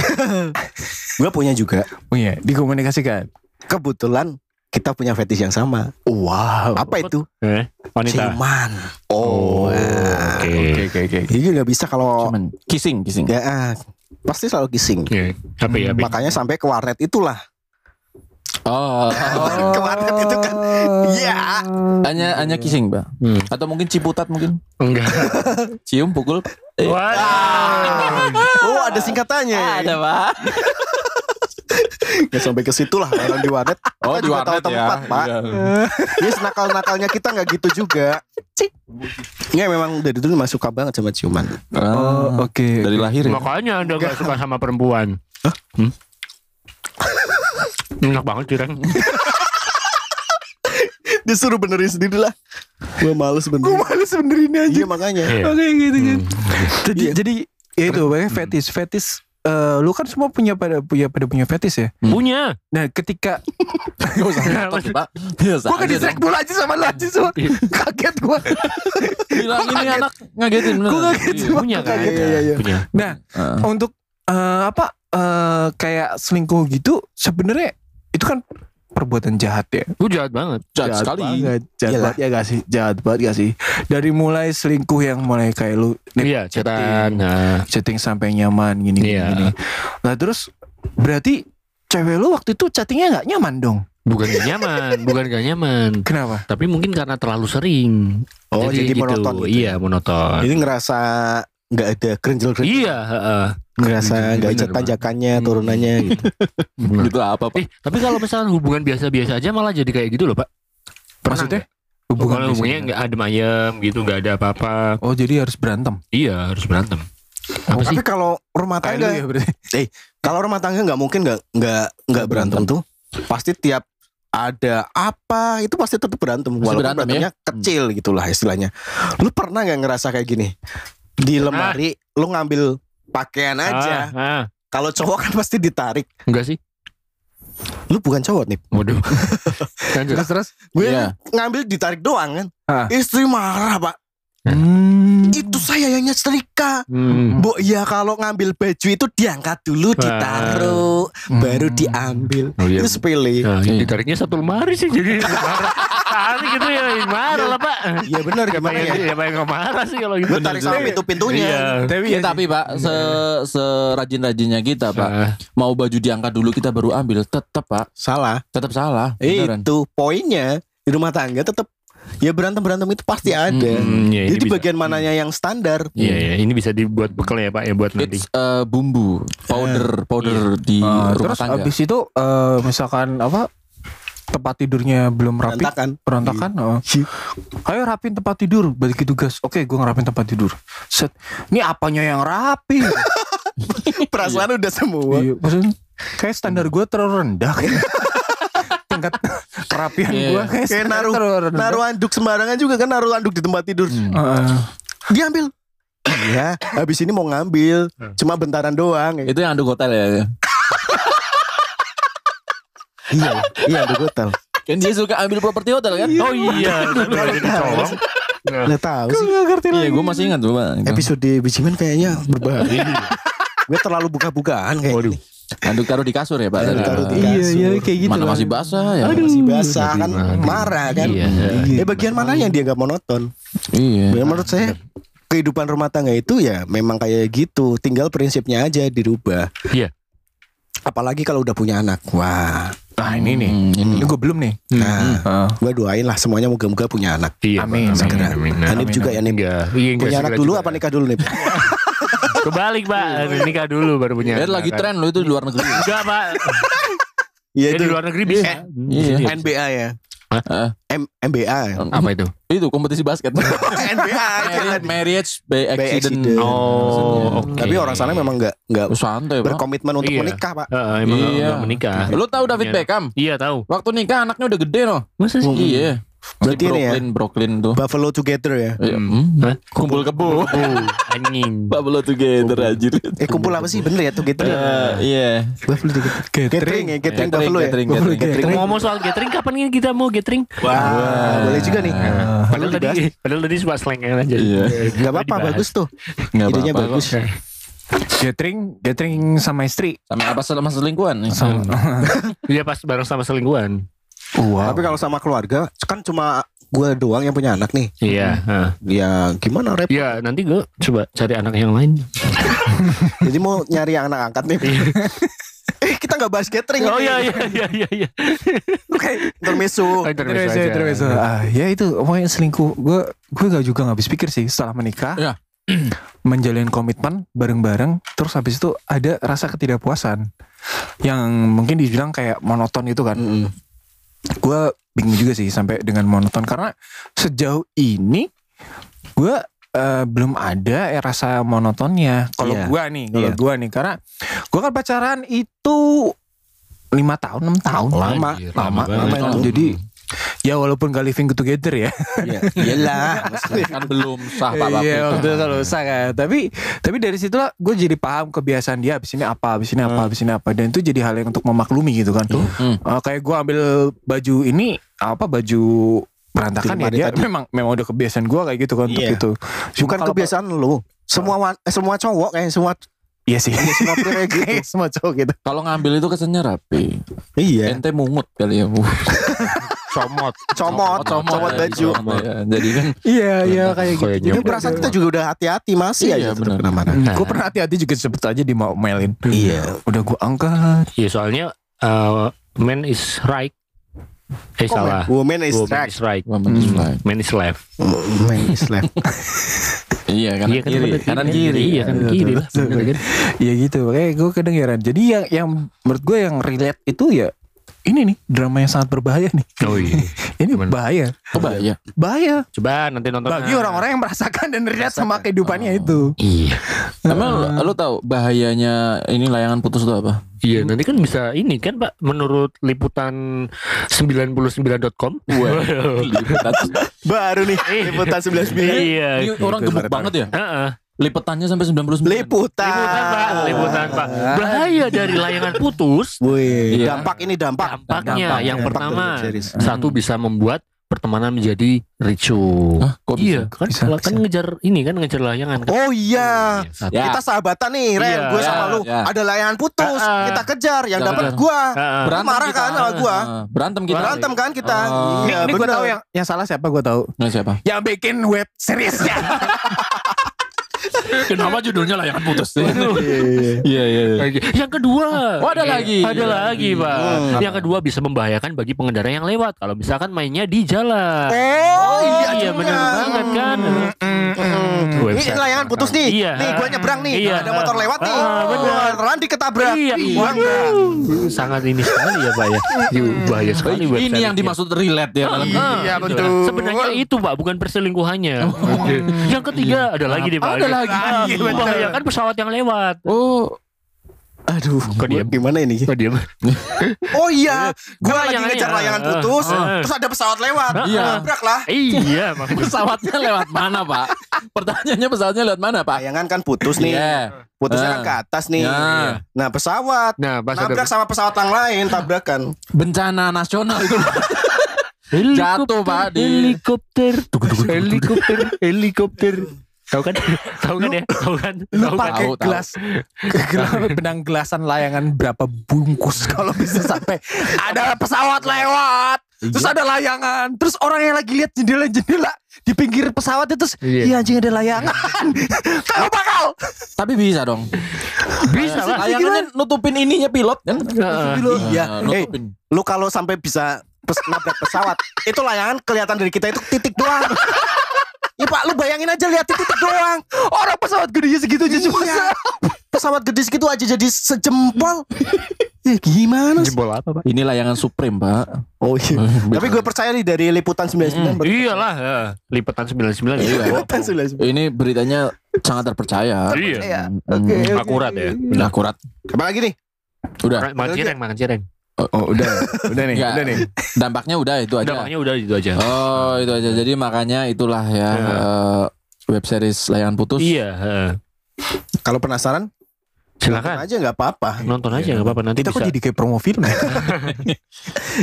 Gue punya juga.
punya dikomunikasikan
Kebetulan kita punya fetis yang sama. Wow. Apa itu?
eh, wanita.
Ciuman. Oh. nah.
ah, Oke.
oke oke
Jadi nggak bisa kalau
Cuman kissing, kissing.
ya ah, pasti selalu kissing.
Oke. HP ya. HP.
Makanya sampai ke warnet itulah.
Oh.
Ke warnet itu kan. Ya.
Hanya hanya kissing, Pak.
Hmm.
Atau mungkin ciputat mungkin.
Enggak.
Cium, pukul. Eh,
Wah.
Oh ada singkatannya.
Ada, Pak.
Nggak sampai ke situ lah orang di warnet.
Oh,
Kita
di
juga tahu
warnet ya.
tempat, Pak.
Iya.
Ya nakal nakalnya kita nggak gitu juga. Iya memang dari dulu masuk suka banget sama ciuman.
Oh,
oh oke
Dari lahir ya.
Makanya Anda gak suka sama perempuan. Hmm? Enak banget Cireng.
Disuruh benerin sendiri lah. Gue males
gue
benerin.
malu sebenernya aja
Iya makanya.
Eh,
Iya.
oke gitu kan
Hmm.
jadi
Iya.
jadi ya itu makanya fetis fetis eh, lu kan semua punya pada punya pada punya fetis ya
Punya.
nah ketika
Gak usah ngotot ya, Pak. Biasa
Gue ke
aja
distract
dong.
mulu aja sama lu aja sama Kaget gue
Bilang ini anak ngagetin. bener.
Gua kaget
Iya.
sama-
Punya kan?
Iya, iya, iya.
Punya.
Nah
Heeh.
untuk eh, Apa eh, Kayak selingkuh gitu sebenarnya Itu kan perbuatan jahat ya
Lu jahat banget.
Jahat sekali.
banget, Jahat
Iyalah.
banget ya gak sih Jahat banget gak sih Dari mulai selingkuh yang mulai kayak lu nip-
Iya, cetan. Nah,
Chatting sampai nyaman gini gini,
Iya.
gini. Nah terus Berarti Cewek lu waktu itu chattingnya gak nyaman dong
bukan gak nyaman, bukan gak nyaman.
Kenapa?
Tapi mungkin karena terlalu sering.
Oh jadi,
gitu.
monoton gitu.
Iya, monoton.
Jadi ngerasa nggak ada krenjel krenjel.
Iya, heeh.
Ngerasa nggak ada
Bener,
tanjakannya,
Hmm.
turunannya gitu.
Bener.
Gitu apa, Pak?
Eh, tapi kalau misalkan hubungan biasa-biasa aja malah jadi kayak gitu loh, Pak. Pernah
Maksudnya?
Hubungan kalau hubungannya
biasa.
nggak adem ayem gitu, nggak ada apa-apa.
Oh jadi harus berantem
Iya, harus berantem. Apa sih?
Tapi kalau rumah
Kayak
tangga,
lu ya berarti
kalau rumah tangga nggak mungkin nggak nggak nggak berantem tuh. Pasti tiap ada apa itu pasti tetap berantem ya? Hmm. walaupun
berantem,
berantemnya kecil gitulah istilahnya. Lu pernah nggak ngerasa kayak gini di
Pernah.
lemari lu ngambil pakaian aja.
Ah, ah.
Kalau cowok kan pasti ditarik.
Enggak sih?
Lu bukan cowok nih.
Waduh. Lanjut.
Terus-terus
Gue
Iya.
ngambil ditarik doang kan.
Ah.
Istri marah pak.
Hmm.
Itu saya yang nyetrika.
Hmm.
Bu ya kalau ngambil baju itu diangkat dulu ditaruh
Hmm.
baru
Hmm.
diambil.
Oh, iya.
Itu sepele.
Nah, ditariknya satu lemari sih jadi marah. Tadi gitu ya marah lah pak.
Iya benar
Siapa
gimana
yang
ya?
siapa yang nggak marah sih kalau gitu.
Gue tarik sama pintu
Iya.
pintunya.
Tapi
Ya, tapi Pak, se serajin-rajinnya kita, Pak,
Ah,
mau baju diangkat dulu kita baru ambil, tetap Pak,
Salah.
tetap salah. Beneran.
Itu poinnya di rumah tangga tetap ya berantem berantem itu pasti ada.
hmm, ya, ini
Jadi
bisa.
bagian mananya yang standar.
Iya, iya, ini bisa dibuat bekal ya pak ya buat nanti.
It's uh, bumbu, powder, powder di
Ah,
rumah
terus
tangga.
abis itu eh, misalkan apa tempat tidurnya belum rapi
Berantakan.
berantakan oh.
Iya.
ayo rapin tempat tidur bagi tugas oke gue ngerapin tempat tidur set ini apanya yang rapi
Perasaan udah semua.
Iya, maksudnya kayak standar gue terlalu rendah tingkat kerapian
Iya.
gue kayak,
Kayak
standar
naruh
terlalu rendah
naruh anduk sembarangan juga kan naruh anduk di tempat tidur.
Hmm.
Hmm.
Heeh.
Diambil. Iya, habis ini mau ngambil,
Hmm.
cuma bentaran doang.
Itu yang anduk hotel ya.
iya, iya di hotel.
Kan dia suka ambil properti hotel kan?
Oh iya, lu nggak jadi colong.
Nggak tahu sih.
Iya, gue masih ingat tuh, Pak.
Episode bijiman kayaknya berbahaya. Gue terlalu buka-bukaan kayak.
Waduh.
gini.
Anduk taruh di kasur ya Pak
Anduk
tadi.
taruh di-
Iya iya kayak gitu.
Mana
loh.
masih basah ya.
Aduh.
masih basah kan
Aduh.
marah kan
Iya.
eh bagian mana yang dia nggak monoton
Iya.
Ya, menurut saya kehidupan rumah tangga itu ya memang kayak gitu tinggal prinsipnya aja dirubah
Iya.
apalagi kalau udah punya anak wah
Nah ini nih.
Hmm, ini.
Ini gue belum nih.
Mm-hmm.
nah
Heeh.
gue doain lah semuanya moga-moga punya anak
Iya,
Amin,
Pak.
segera.
Hanif juga ya Nip
Iya, iya, enggak
punya
segera
anak dulu
juga.
apa nikah dulu Nip
Kebalik, Pak. Nikah dulu baru punya.
Ya, lagi
kan?
anak.
tren loh itu di luar negeri.
Enggak, Pak. Ya,
iya
di
itu
luar negeri bisa.
Iya.
NBA ya
Hah? Oh.
Hah?
M- MBA
Apa itu?
Itu kompetisi basket.
NBA
Marriage- Marriage by
By
accident.
accident.
Oh, oke.
tapi orang sana memang nggak nggak
Oh, santai Pak.
berkomitmen untuk
Iya.
menikah pak
Heeh, emang
Iya.
nggak menikah.
Lu tahu David
Iya.
Beckham?
Iya, tahu.
Waktu nikah anaknya udah gede loh.
Masa sih?
Iya.
Hmm. Berarti
Di
ini ya?
Brooklyn, Brooklyn tuh.
Buffalo together ya
Iya,
Hmm.
hmm.
Hah?
Kumpul kebo.
Oh, anjing.
Bablo together anjir.
eh kumpul apa sih bener ya together ya?
Eh, Iya.
Buffalo together gathering ya gathering
Gathering,
Buffalo ya
gathering,
Buffalo
gathering.
gathering.
Ngomong soal gathering, kapan kita mau gathering?
Wah, boleh juga nih.
Padahal tadi, padahal tadi cuma slengan aja.
Iya.
Gak Eh, apa-apa,
Dibahas.
bagus tuh.
Enggak
Idenya
apa-apa.
bagus.
Gathering, gathering sama istri.
Sama apa sama selingkuhan nih? Iya.
Dia Iya, pas bareng sama selingkuhan.
Tapi kalau sama keluarga, kan cuma gue doang yang punya anak nih.
Iya. heeh.
Ya gimana rep?
Iya, nanti gue coba cari anak yang lain.
Jadi mau nyari anak angkat nih. eh kita nggak bahas catering.
Iya.
ya?
Oh iya iya iya iya. iya.
Oke, intermesu.
Intermezzo aja.
Ah, ya itu pokoknya selingkuh. Gue gue gak juga nggak habis pikir sih setelah menikah.
Iya.
menjalin komitmen bareng-bareng terus habis itu ada rasa ketidakpuasan yang mungkin dibilang kayak monoton itu kan
Mm-mm.
gue bingung juga sih sampai dengan monoton karena sejauh ini gue belum ada eh, rasa monotonnya kalau
Iya.
gue nih kalau
Iya.
gue nih karena gue kan pacaran itu lima tahun enam tahun
Lama,
Anjir,
lama,
lama
lama
banget.
itu.
jadi ya walaupun gak living together ya
Iya, Iyalah. mesti.
Kan belum sah Pak Bapak.
Iya waktu itu kalau usah kan. Tapi tapi dari situlah gue jadi paham kebiasaan dia. Abis ini apa, abis ini apa, abis ini apa. Dan itu jadi hal yang untuk memaklumi gitu kan.
Hmm.
Eh, kayak gue ambil baju ini apa baju berantakan ya
Dilemari
dia
tadi.
memang memang udah kebiasaan gue kayak gitu kan untuk
Iya.
itu. Cuma
Bukan
kalau-
kebiasaan lu. Semua wan- eh, semua cowok kayak semua
Iya sih.
ya, semua kayak gitu.
Semua cowok gitu.
Kalau ngambil itu kesannya rapi.
Iya.
Ente mungut kali ya. Oh, Uh,
Comot.
Comot, comot Oh, baju.
comot ya. Jadi kan
Iya iya
Berantakan.
kayak gitu.
Kayak
Ini
Jadi
perasaan kita juga udah hati-hati masih
Iya,
aja tetap
benar.
kena marah.
Gue pernah hati-hati juga sebut aja di mau mailin.
Iya.
Udah gue angkat.
Iya soalnya uh, man is right. Eh salah.
Woman is
Woman
trash.
is right.
Woman is right.
Man is left.
Woman is left.
Iya kanan
Iya kan
kiri.
bener,
Kanan
iya,
kiri.
Iya kanan kiri lah. bener kan?
Iya gitu. Kayak gue kadang heran. Jadi yang yang menurut gue yang relate itu ya ini nih drama yang sangat berbahaya nih.
Oh iya.
Ini
Gimana?
bahaya.
Coba ya.
Bahaya
Coba nanti nonton.
bagi iya, orang-orang yang merasakan Oh. dan relate sama kehidupannya itu.
Iya.
Emang lu, lu tahu bahayanya ini layangan putus itu apa?
Iya, nanti kan bisa ini kan Pak menurut liputan 99.com.
Iya.
Waduh.
Baru nih
Eh.
liputan 99.
Ini
Iya.
orang gemuk
Baru tahu.
banget ya.
Heeh.
Lipetannya sampai 99.
Liputan.
Liputan Pak, liputan Pak. Bahaya dari layangan putus
Woi,
Iya. Ya.
dampak ini dampak.
dampaknya
Dampak,
yang
dampak
pertama
dari series.
satu bisa membuat pertemanan menjadi ricu.
Hah, kok bisa?
Iya, kan
Bisa,
kan
bisa.
ngejar ini kan ngejar layangan kan.
Oh iya.
Iya, satu.
Ya.
Kita sahabatan nih, Ren.
Iya,
gue sama
iya,
lu.
iya.
Ada layangan putus,
Ah, ah.
kita kejar. Yang
Jangan
dapat
kejar.
gua.
Heeh.
Lu marah
kita.
kan sama gua?
Ah, Berantem kita.
Berantem kan kita.
Oh.
Ini,
Iya,
ini gue
bener.
tahu yang yang salah siapa gue tahu.
Nah, siapa?
Yang bikin web seriesnya.
Kenapa judulnya layangan putus? Iya iya. iya.
Oke. Yang kedua. Iya.
Oh, ada lagi.
Ada lagi, Pak.
Hmm.
Yang kedua bisa membahayakan bagi pengendara yang lewat kalau misalkan mainnya di jalan.
Oh iya,
iya, bener
juga.
banget kan.
Hmm. Ini
Website.
layangan putus nih.
Iya.
Nih gua nyebrang nih.
Iya.
Ada motor lewat nih.
Ah, bener.
Randi ketabrak.
Iya,
Gua enggak.
Wuh, sangat ini sekali ya Pak ya. Yuh, Bahaya sekali website
Ini yang dimaksud relate ya. dalam-
Iya betul. Sebenarnya itu Pak, bukan perselingkuhannya. yang ketiga ada lagi nih Pak.
Oh, Ada lagi.
Ah, iya, Membahayakan kan pesawat yang lewat.
Oh,
Aduh,
Kok
gua
diem?
gimana ini?
Oh, diam.
Oh iya,
Kan
gua lagi
layangannya.
ngejar layangan
Ah,
putus,
ah.
terus ada pesawat lewat.
Iya.
Tabrak lah.
Iya, maksudnya.
pesawatnya lewat mana, Pak? Pertanyaannya pesawatnya lewat mana, Pak?
Layangan kan putus nih.
Iya.
Putusnya
Ah.
kan ke atas nih.
Ya.
Nah, pesawat
Nah, pas ada
nabrak sama pesawat yang lain tabrakan.
Bencana nasional itu. Jatuh, Pak, di-
Helikopter. Helikopter, helikopter. Tahu kan? Tahu kan ya? Tahu kan?
Lu
Tahu kan?
pakai
tahu, tahu.
gelas, gelas benang gelasan layangan berapa bungkus kalau bisa sampai ada pesawat lewat, terus ada layangan, terus orang yang lagi lihat jendela-jendela di pinggir pesawat itu, terus
Iya.
iya anjing ada layangan, kalau bakal.
Tapi bisa dong.
Bisa lah.
Layangannya nutupin ininya pilot kan?
Heeh.
Lu,
Nah,
iya.
nutupin.
Lu kalau sampai bisa pes nabrak pesawat, itu layangan kelihatan dari kita itu titik doang.
Iya,
Ya Pak, lu bayangin aja lihat titik doang.
Orang pesawat gedenya segitu aja cuma.
Iya. Pesawat gede segitu aja jadi sejempol. Ya gimana sih?
Jempol apa, Pak?
Ini layangan Supreme, Pak.
Oh iya. Tapi gue percaya nih dari liputan 99 betul.
Iyalah, ya. lipetan 99
Iya.
iya.
Liputan 99.
Ini beritanya sangat terpercaya.
Iya.
Hmm,
Oke.
hmm.
Akurat ya.
Nah, akurat.
Apalagi nih?
Udah.
Makan cireng, makan cireng.
Oh, udah.
Udah nih,
Nggak.
udah nih.
Dampaknya udah itu aja.
Udah makanya udah itu aja.
Oh, itu aja. Jadi makanya itulah ya
Ya.
eh, web series layangan putus.
Iya, heeh.
Kalau penasaran,
silakan
aja nggak apa-apa.
nonton aja nggak apa-apa nanti
Kita kok
bisa.
jadi kayak promo film ya?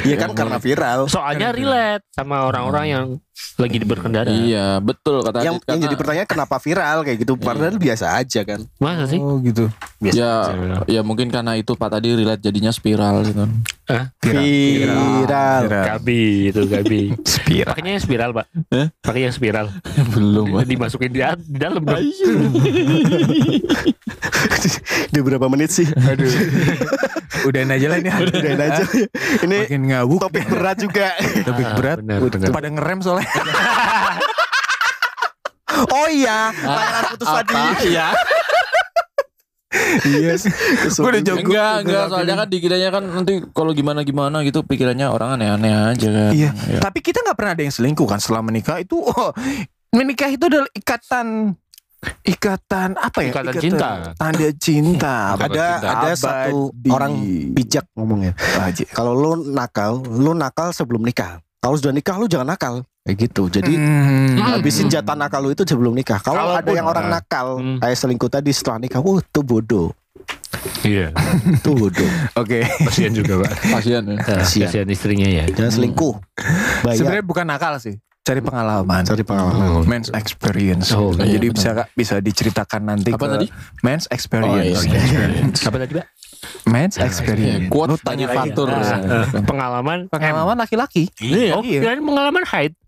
Iya kan karena viral.
Soalnya relate sama orang-orang yang lagi berkendara.
Iya, betul kata Adit,
Yang, yang
karena-
jadi pertanyaan kenapa viral kayak gitu? Padahal biasa aja kan.
Masa sih?
Oh gitu.
Biasa.
ya,
Iya.
ya mungkin karena itu Pak tadi relate jadinya spiral gitu.
Viral.
Gabi itu Gabi.
Spiral.
Pakainya yang spiral, Pak.
Eh?
Pakai yang spiral.
Belum. Pak.
Dimasukin di, at- di dalam dong.
Udah berapa menit sih?
Udahin aja lah ini.
Udahin aja. Ini
Makin ngawuk.
topik berat juga.
Topik
Ah,
berat.
benar,
Udah
benar.
Pada ngerem soalnya.
Oh iya, layangan putus tadi.
Iya.
Iya. Gue udah jago.
Enggak, enggak. Soalnya kan dikiranya kan nanti kalau gimana gimana gitu pikirannya orang aneh-aneh aja kan.
Iya. Tapi kita nggak pernah ada yang selingkuh kan setelah menikah itu. Oh, menikah itu adalah ikatan ikatan apa ya?
Ikatan cinta.
Tanda cinta.
Ada ada
Abadi.
satu orang bijak ngomongnya.
Aja.
Kalau lu nakal, lu nakal sebelum nikah. Kalau sudah nikah lu jangan nakal. Kayak gitu. Jadi
Hmm.
habisin jatah nakal lu itu sebelum nikah. Kalau ada
Kalaupun-
yang orang nakal
Hmm.
kayak selingkuh tadi setelah nikah, wah tuh bodoh,
Iya.
tuh bodoh.
Oke.
Kasihan juga, Pak.
Kasihan ya.
Kasihan.
Kasihan istrinya ya.
Jangan selingkuh. Bayar.
Sebenarnya bukan nakal sih. Cari pengalaman.
iya. Cari pengalaman.
Men's experience.
Oh,
Nah,
iya,
Jadi
benar.
bisa bisa diceritakan nanti
Apa
ke
tadi? Oh,
men's
iya.
experience.
Apa tadi, Pak?
Men's experience.
Quote
Lu
tadi
tanya lagi.
faktur.
Ah, eh, pengalaman
Pengalaman laki-laki.
oh,
Iya.
dan pengalaman height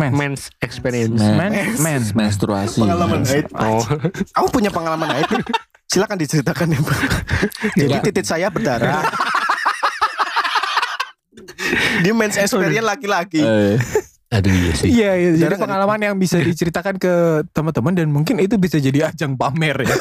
Men's.
men's experience
Men's. Men's.
menstruasi.
Pengalaman haid.
oh
Kamu punya pengalaman haid? Silakan diceritakan ya, Pak. Jadi titik saya berdarah. Dia men's experience laki-laki.
Eh,
aduh iya sih
Iya, iya. jadi
Jarang ada.
pengalaman yang bisa diceritakan ke teman-teman dan mungkin itu bisa jadi ajang pamer ya.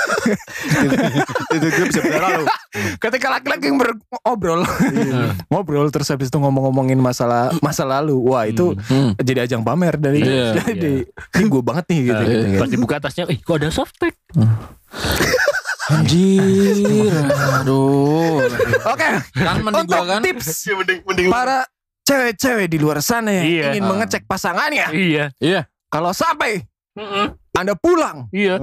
Itu dia bisa berdarah loh.
Ketika laki-laki yang berobrol,
Iya.
ngobrol terus habis itu ngomong-ngomongin masalah masa lalu, wah itu
hmm.
jadi ajang pamer dari
Iya,
jadi ini gue banget nih
Eh,
gitu. gitu, gitu.
pas dibuka tasnya ih kok ada softtek
Anjir. Aduh.
Oke,
Kan mending
untuk
gua kan.
tips para cewek-cewek di luar sana yang
Iya.
ingin
Ah.
mengecek pasangannya,
iya
Iya.
kalau sampai anda pulang
iya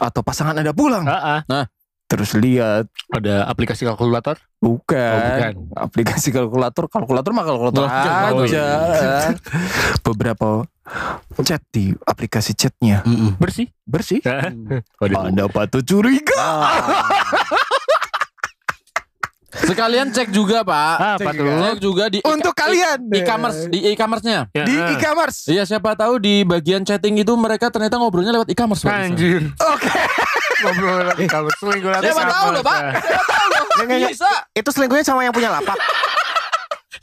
atau pasangan anda pulang,
Ah, ah.
terus lihat
ada aplikasi kalkulator
bukan,
Oh, bukan.
aplikasi kalkulator, kalkulator mah kalkulator
Lah, jangan.
Oh,
aja. kan?
iya.
Beberapa chat di aplikasi chatnya
bersih Ya.
bersih.
Waduh.
Anda patut curiga.
Sekalian cek juga, Pak.
Ah, apa tuh?
Cek juga di
Untuk kalian
e-commerce, di e-commerce-nya.
Ya,
di
ah.
e-commerce.
Iya siapa tahu di bagian chatting itu mereka ternyata ngobrolnya lewat e-commerce Pak.
Anjir.
Oke.
Ngobrol lagi kalau selingkuh lagi
Eh, Siapa
sama.
tahu loh, Pak.
Nggak, nggak, nggak.
Bisa.
Itu selingkuhnya sama yang punya lapak.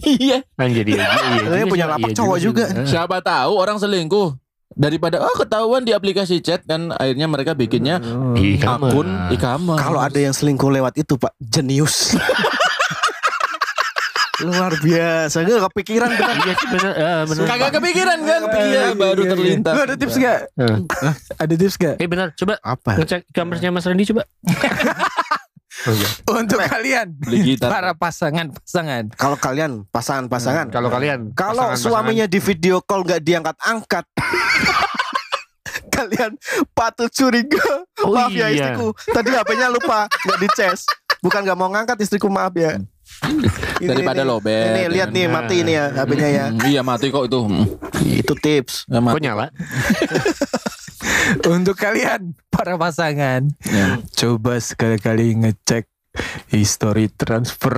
Iya.
Anjir iya. iya,
Ini
iya,
punya
iya,
lapak
iya,
cowok juga.
Ah.
Siapa tahu orang selingkuh daripada oh ketahuan di aplikasi chat kan akhirnya mereka bikinnya
Di kamar.
akun
Oh,
e-commerce.
Iya. Kalau
iya.
ada yang selingkuh lewat itu, Pak, jenius. Luar biasa, gak kepikiran bener.
Iya sih benar. eh, benar.
kagak kepikiran kan
Iya,
Iya,
kepikiran baru terlintas.
Lu ada tips gak?
Eh.
Iya. Ada tips gak?
Eh benar, coba
Apa?
ngecek kamarnya Mas Randy coba.
Untuk kalian
Beli gitar.
para pasangan-pasangan.
Kalau kalian pasangan-pasangan,
Kalau kalian
kalau suaminya di video call nggak diangkat-angkat, kalian patut curiga.
Oh,
maaf ya
iya.
istriku, tadi HP-nya lupa nggak di charge. Bukan nggak mau ngangkat istriku maaf ya. Ini,
Daripada
ini.
lobet, Hmm.
Ini
ya
lihat
kan?
nih mati ini ya HP-nya ya.
Hmm, iya mati kok itu. Hmm,
Itu tips.
ya
kok
mati.
nyala?
Untuk kalian para pasangan,
ya.
coba sekali-kali ngecek history transfer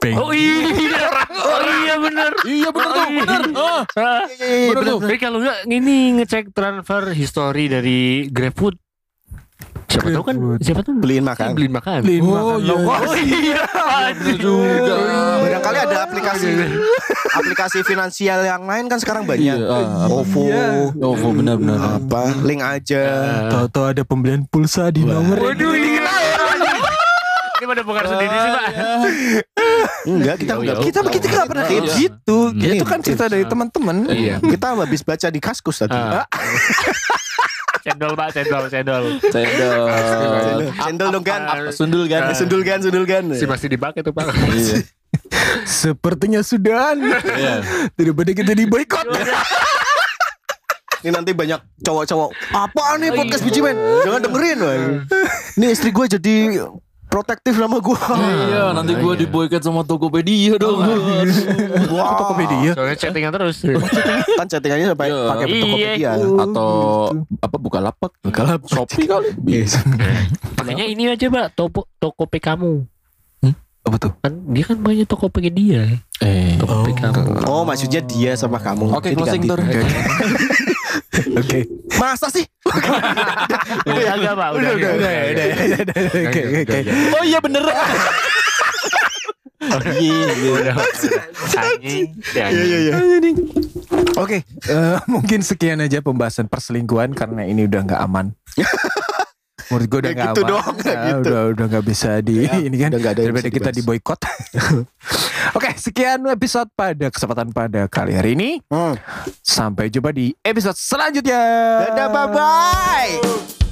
bank.
Oh iya, oh iya bener. Oh,
Iya bener tuh, bener. Ah,
Ah,
bener tuh.
Tapi kalau nggak ini ngecek transfer history dari GrabFood. Siapa tahu kan?
GrabFood.
Siapa tuh
Beliin makan.
beliin makan?
Oh, iya.
Oh iya.
Bener juga.
Iya. Barangkali ada aplikasi aplikasi finansial yang lain kan sekarang
Iya,
banyak.
ah,
OVO,
iya.
OVO bener bener.
apa? Link aja.
Ah.
Eh,
Tahu-tahu ada pembelian pulsa di nomor
Waduh, ini kenapa? Ini pada bongkar sendiri sih, Pak.
Enggak, kita enggak.
kita kita nggak pernah kayak
Iya.
gitu.
Iya.
Itu kan cerita dari teman-teman.
Iya.
Kita habis baca di Kaskus tadi.
Ah. Cendol, Pak, cendol, cendol.
Cendol.
Sendul dong kan.
Ah. Sundul kan?
Sendul kan, sendul kan.
Si pasti dipakai tuh, Pak.
Iya.
Sepertinya sudah.
Iya.
Daripada kita di boykot.
Ini nanti banyak cowok-cowok. Apa nih podcast biji men?
Iya.
Jangan dengerin wah. Ini istri gue jadi protektif sama gue.
Iya, nanti gue diboykot sama Tokopedia dong.
Oh, iya. Wow.
Tokopedia.
Soalnya chattingan terus.
Kan chattingannya sampai
Iya.
pakai
Iya.
Tokopedia.
Atau apa buka lapak? Buka lapak. Shopee kali.
Iya.
Bisa.
Makanya ini aja, Pak, toko toko kamu.
Apa tuh?
Kan dia kan banyak Tokopedia.
Eh.
kamu.
Oh, maksudnya dia sama kamu.
Oke,
Jadi
closing
ganti.
door.
Oke.
Masa sih?
Udah agak, Pak. Udah,
Iya,
udah, udah. udah.
Oke, oke.
Oh iya bener.
Udah, Anjing.
Iya, iya, iya.
Oke, eh, mungkin sekian aja pembahasan perselingkuhan karena ini udah nggak aman. Menurut gue udah
Ya
nggak
gitu
aman.
dong, ya
Ya,
gitu. Ya,
Udah udah nggak bisa di ini kan.
udah nggak ada yang
daripada
bisa
kita di boykot. Oke, sekian episode pada kesempatan pada kali hari ini.
Hmm.
Sampai jumpa di episode selanjutnya.
Dadah, bye-bye.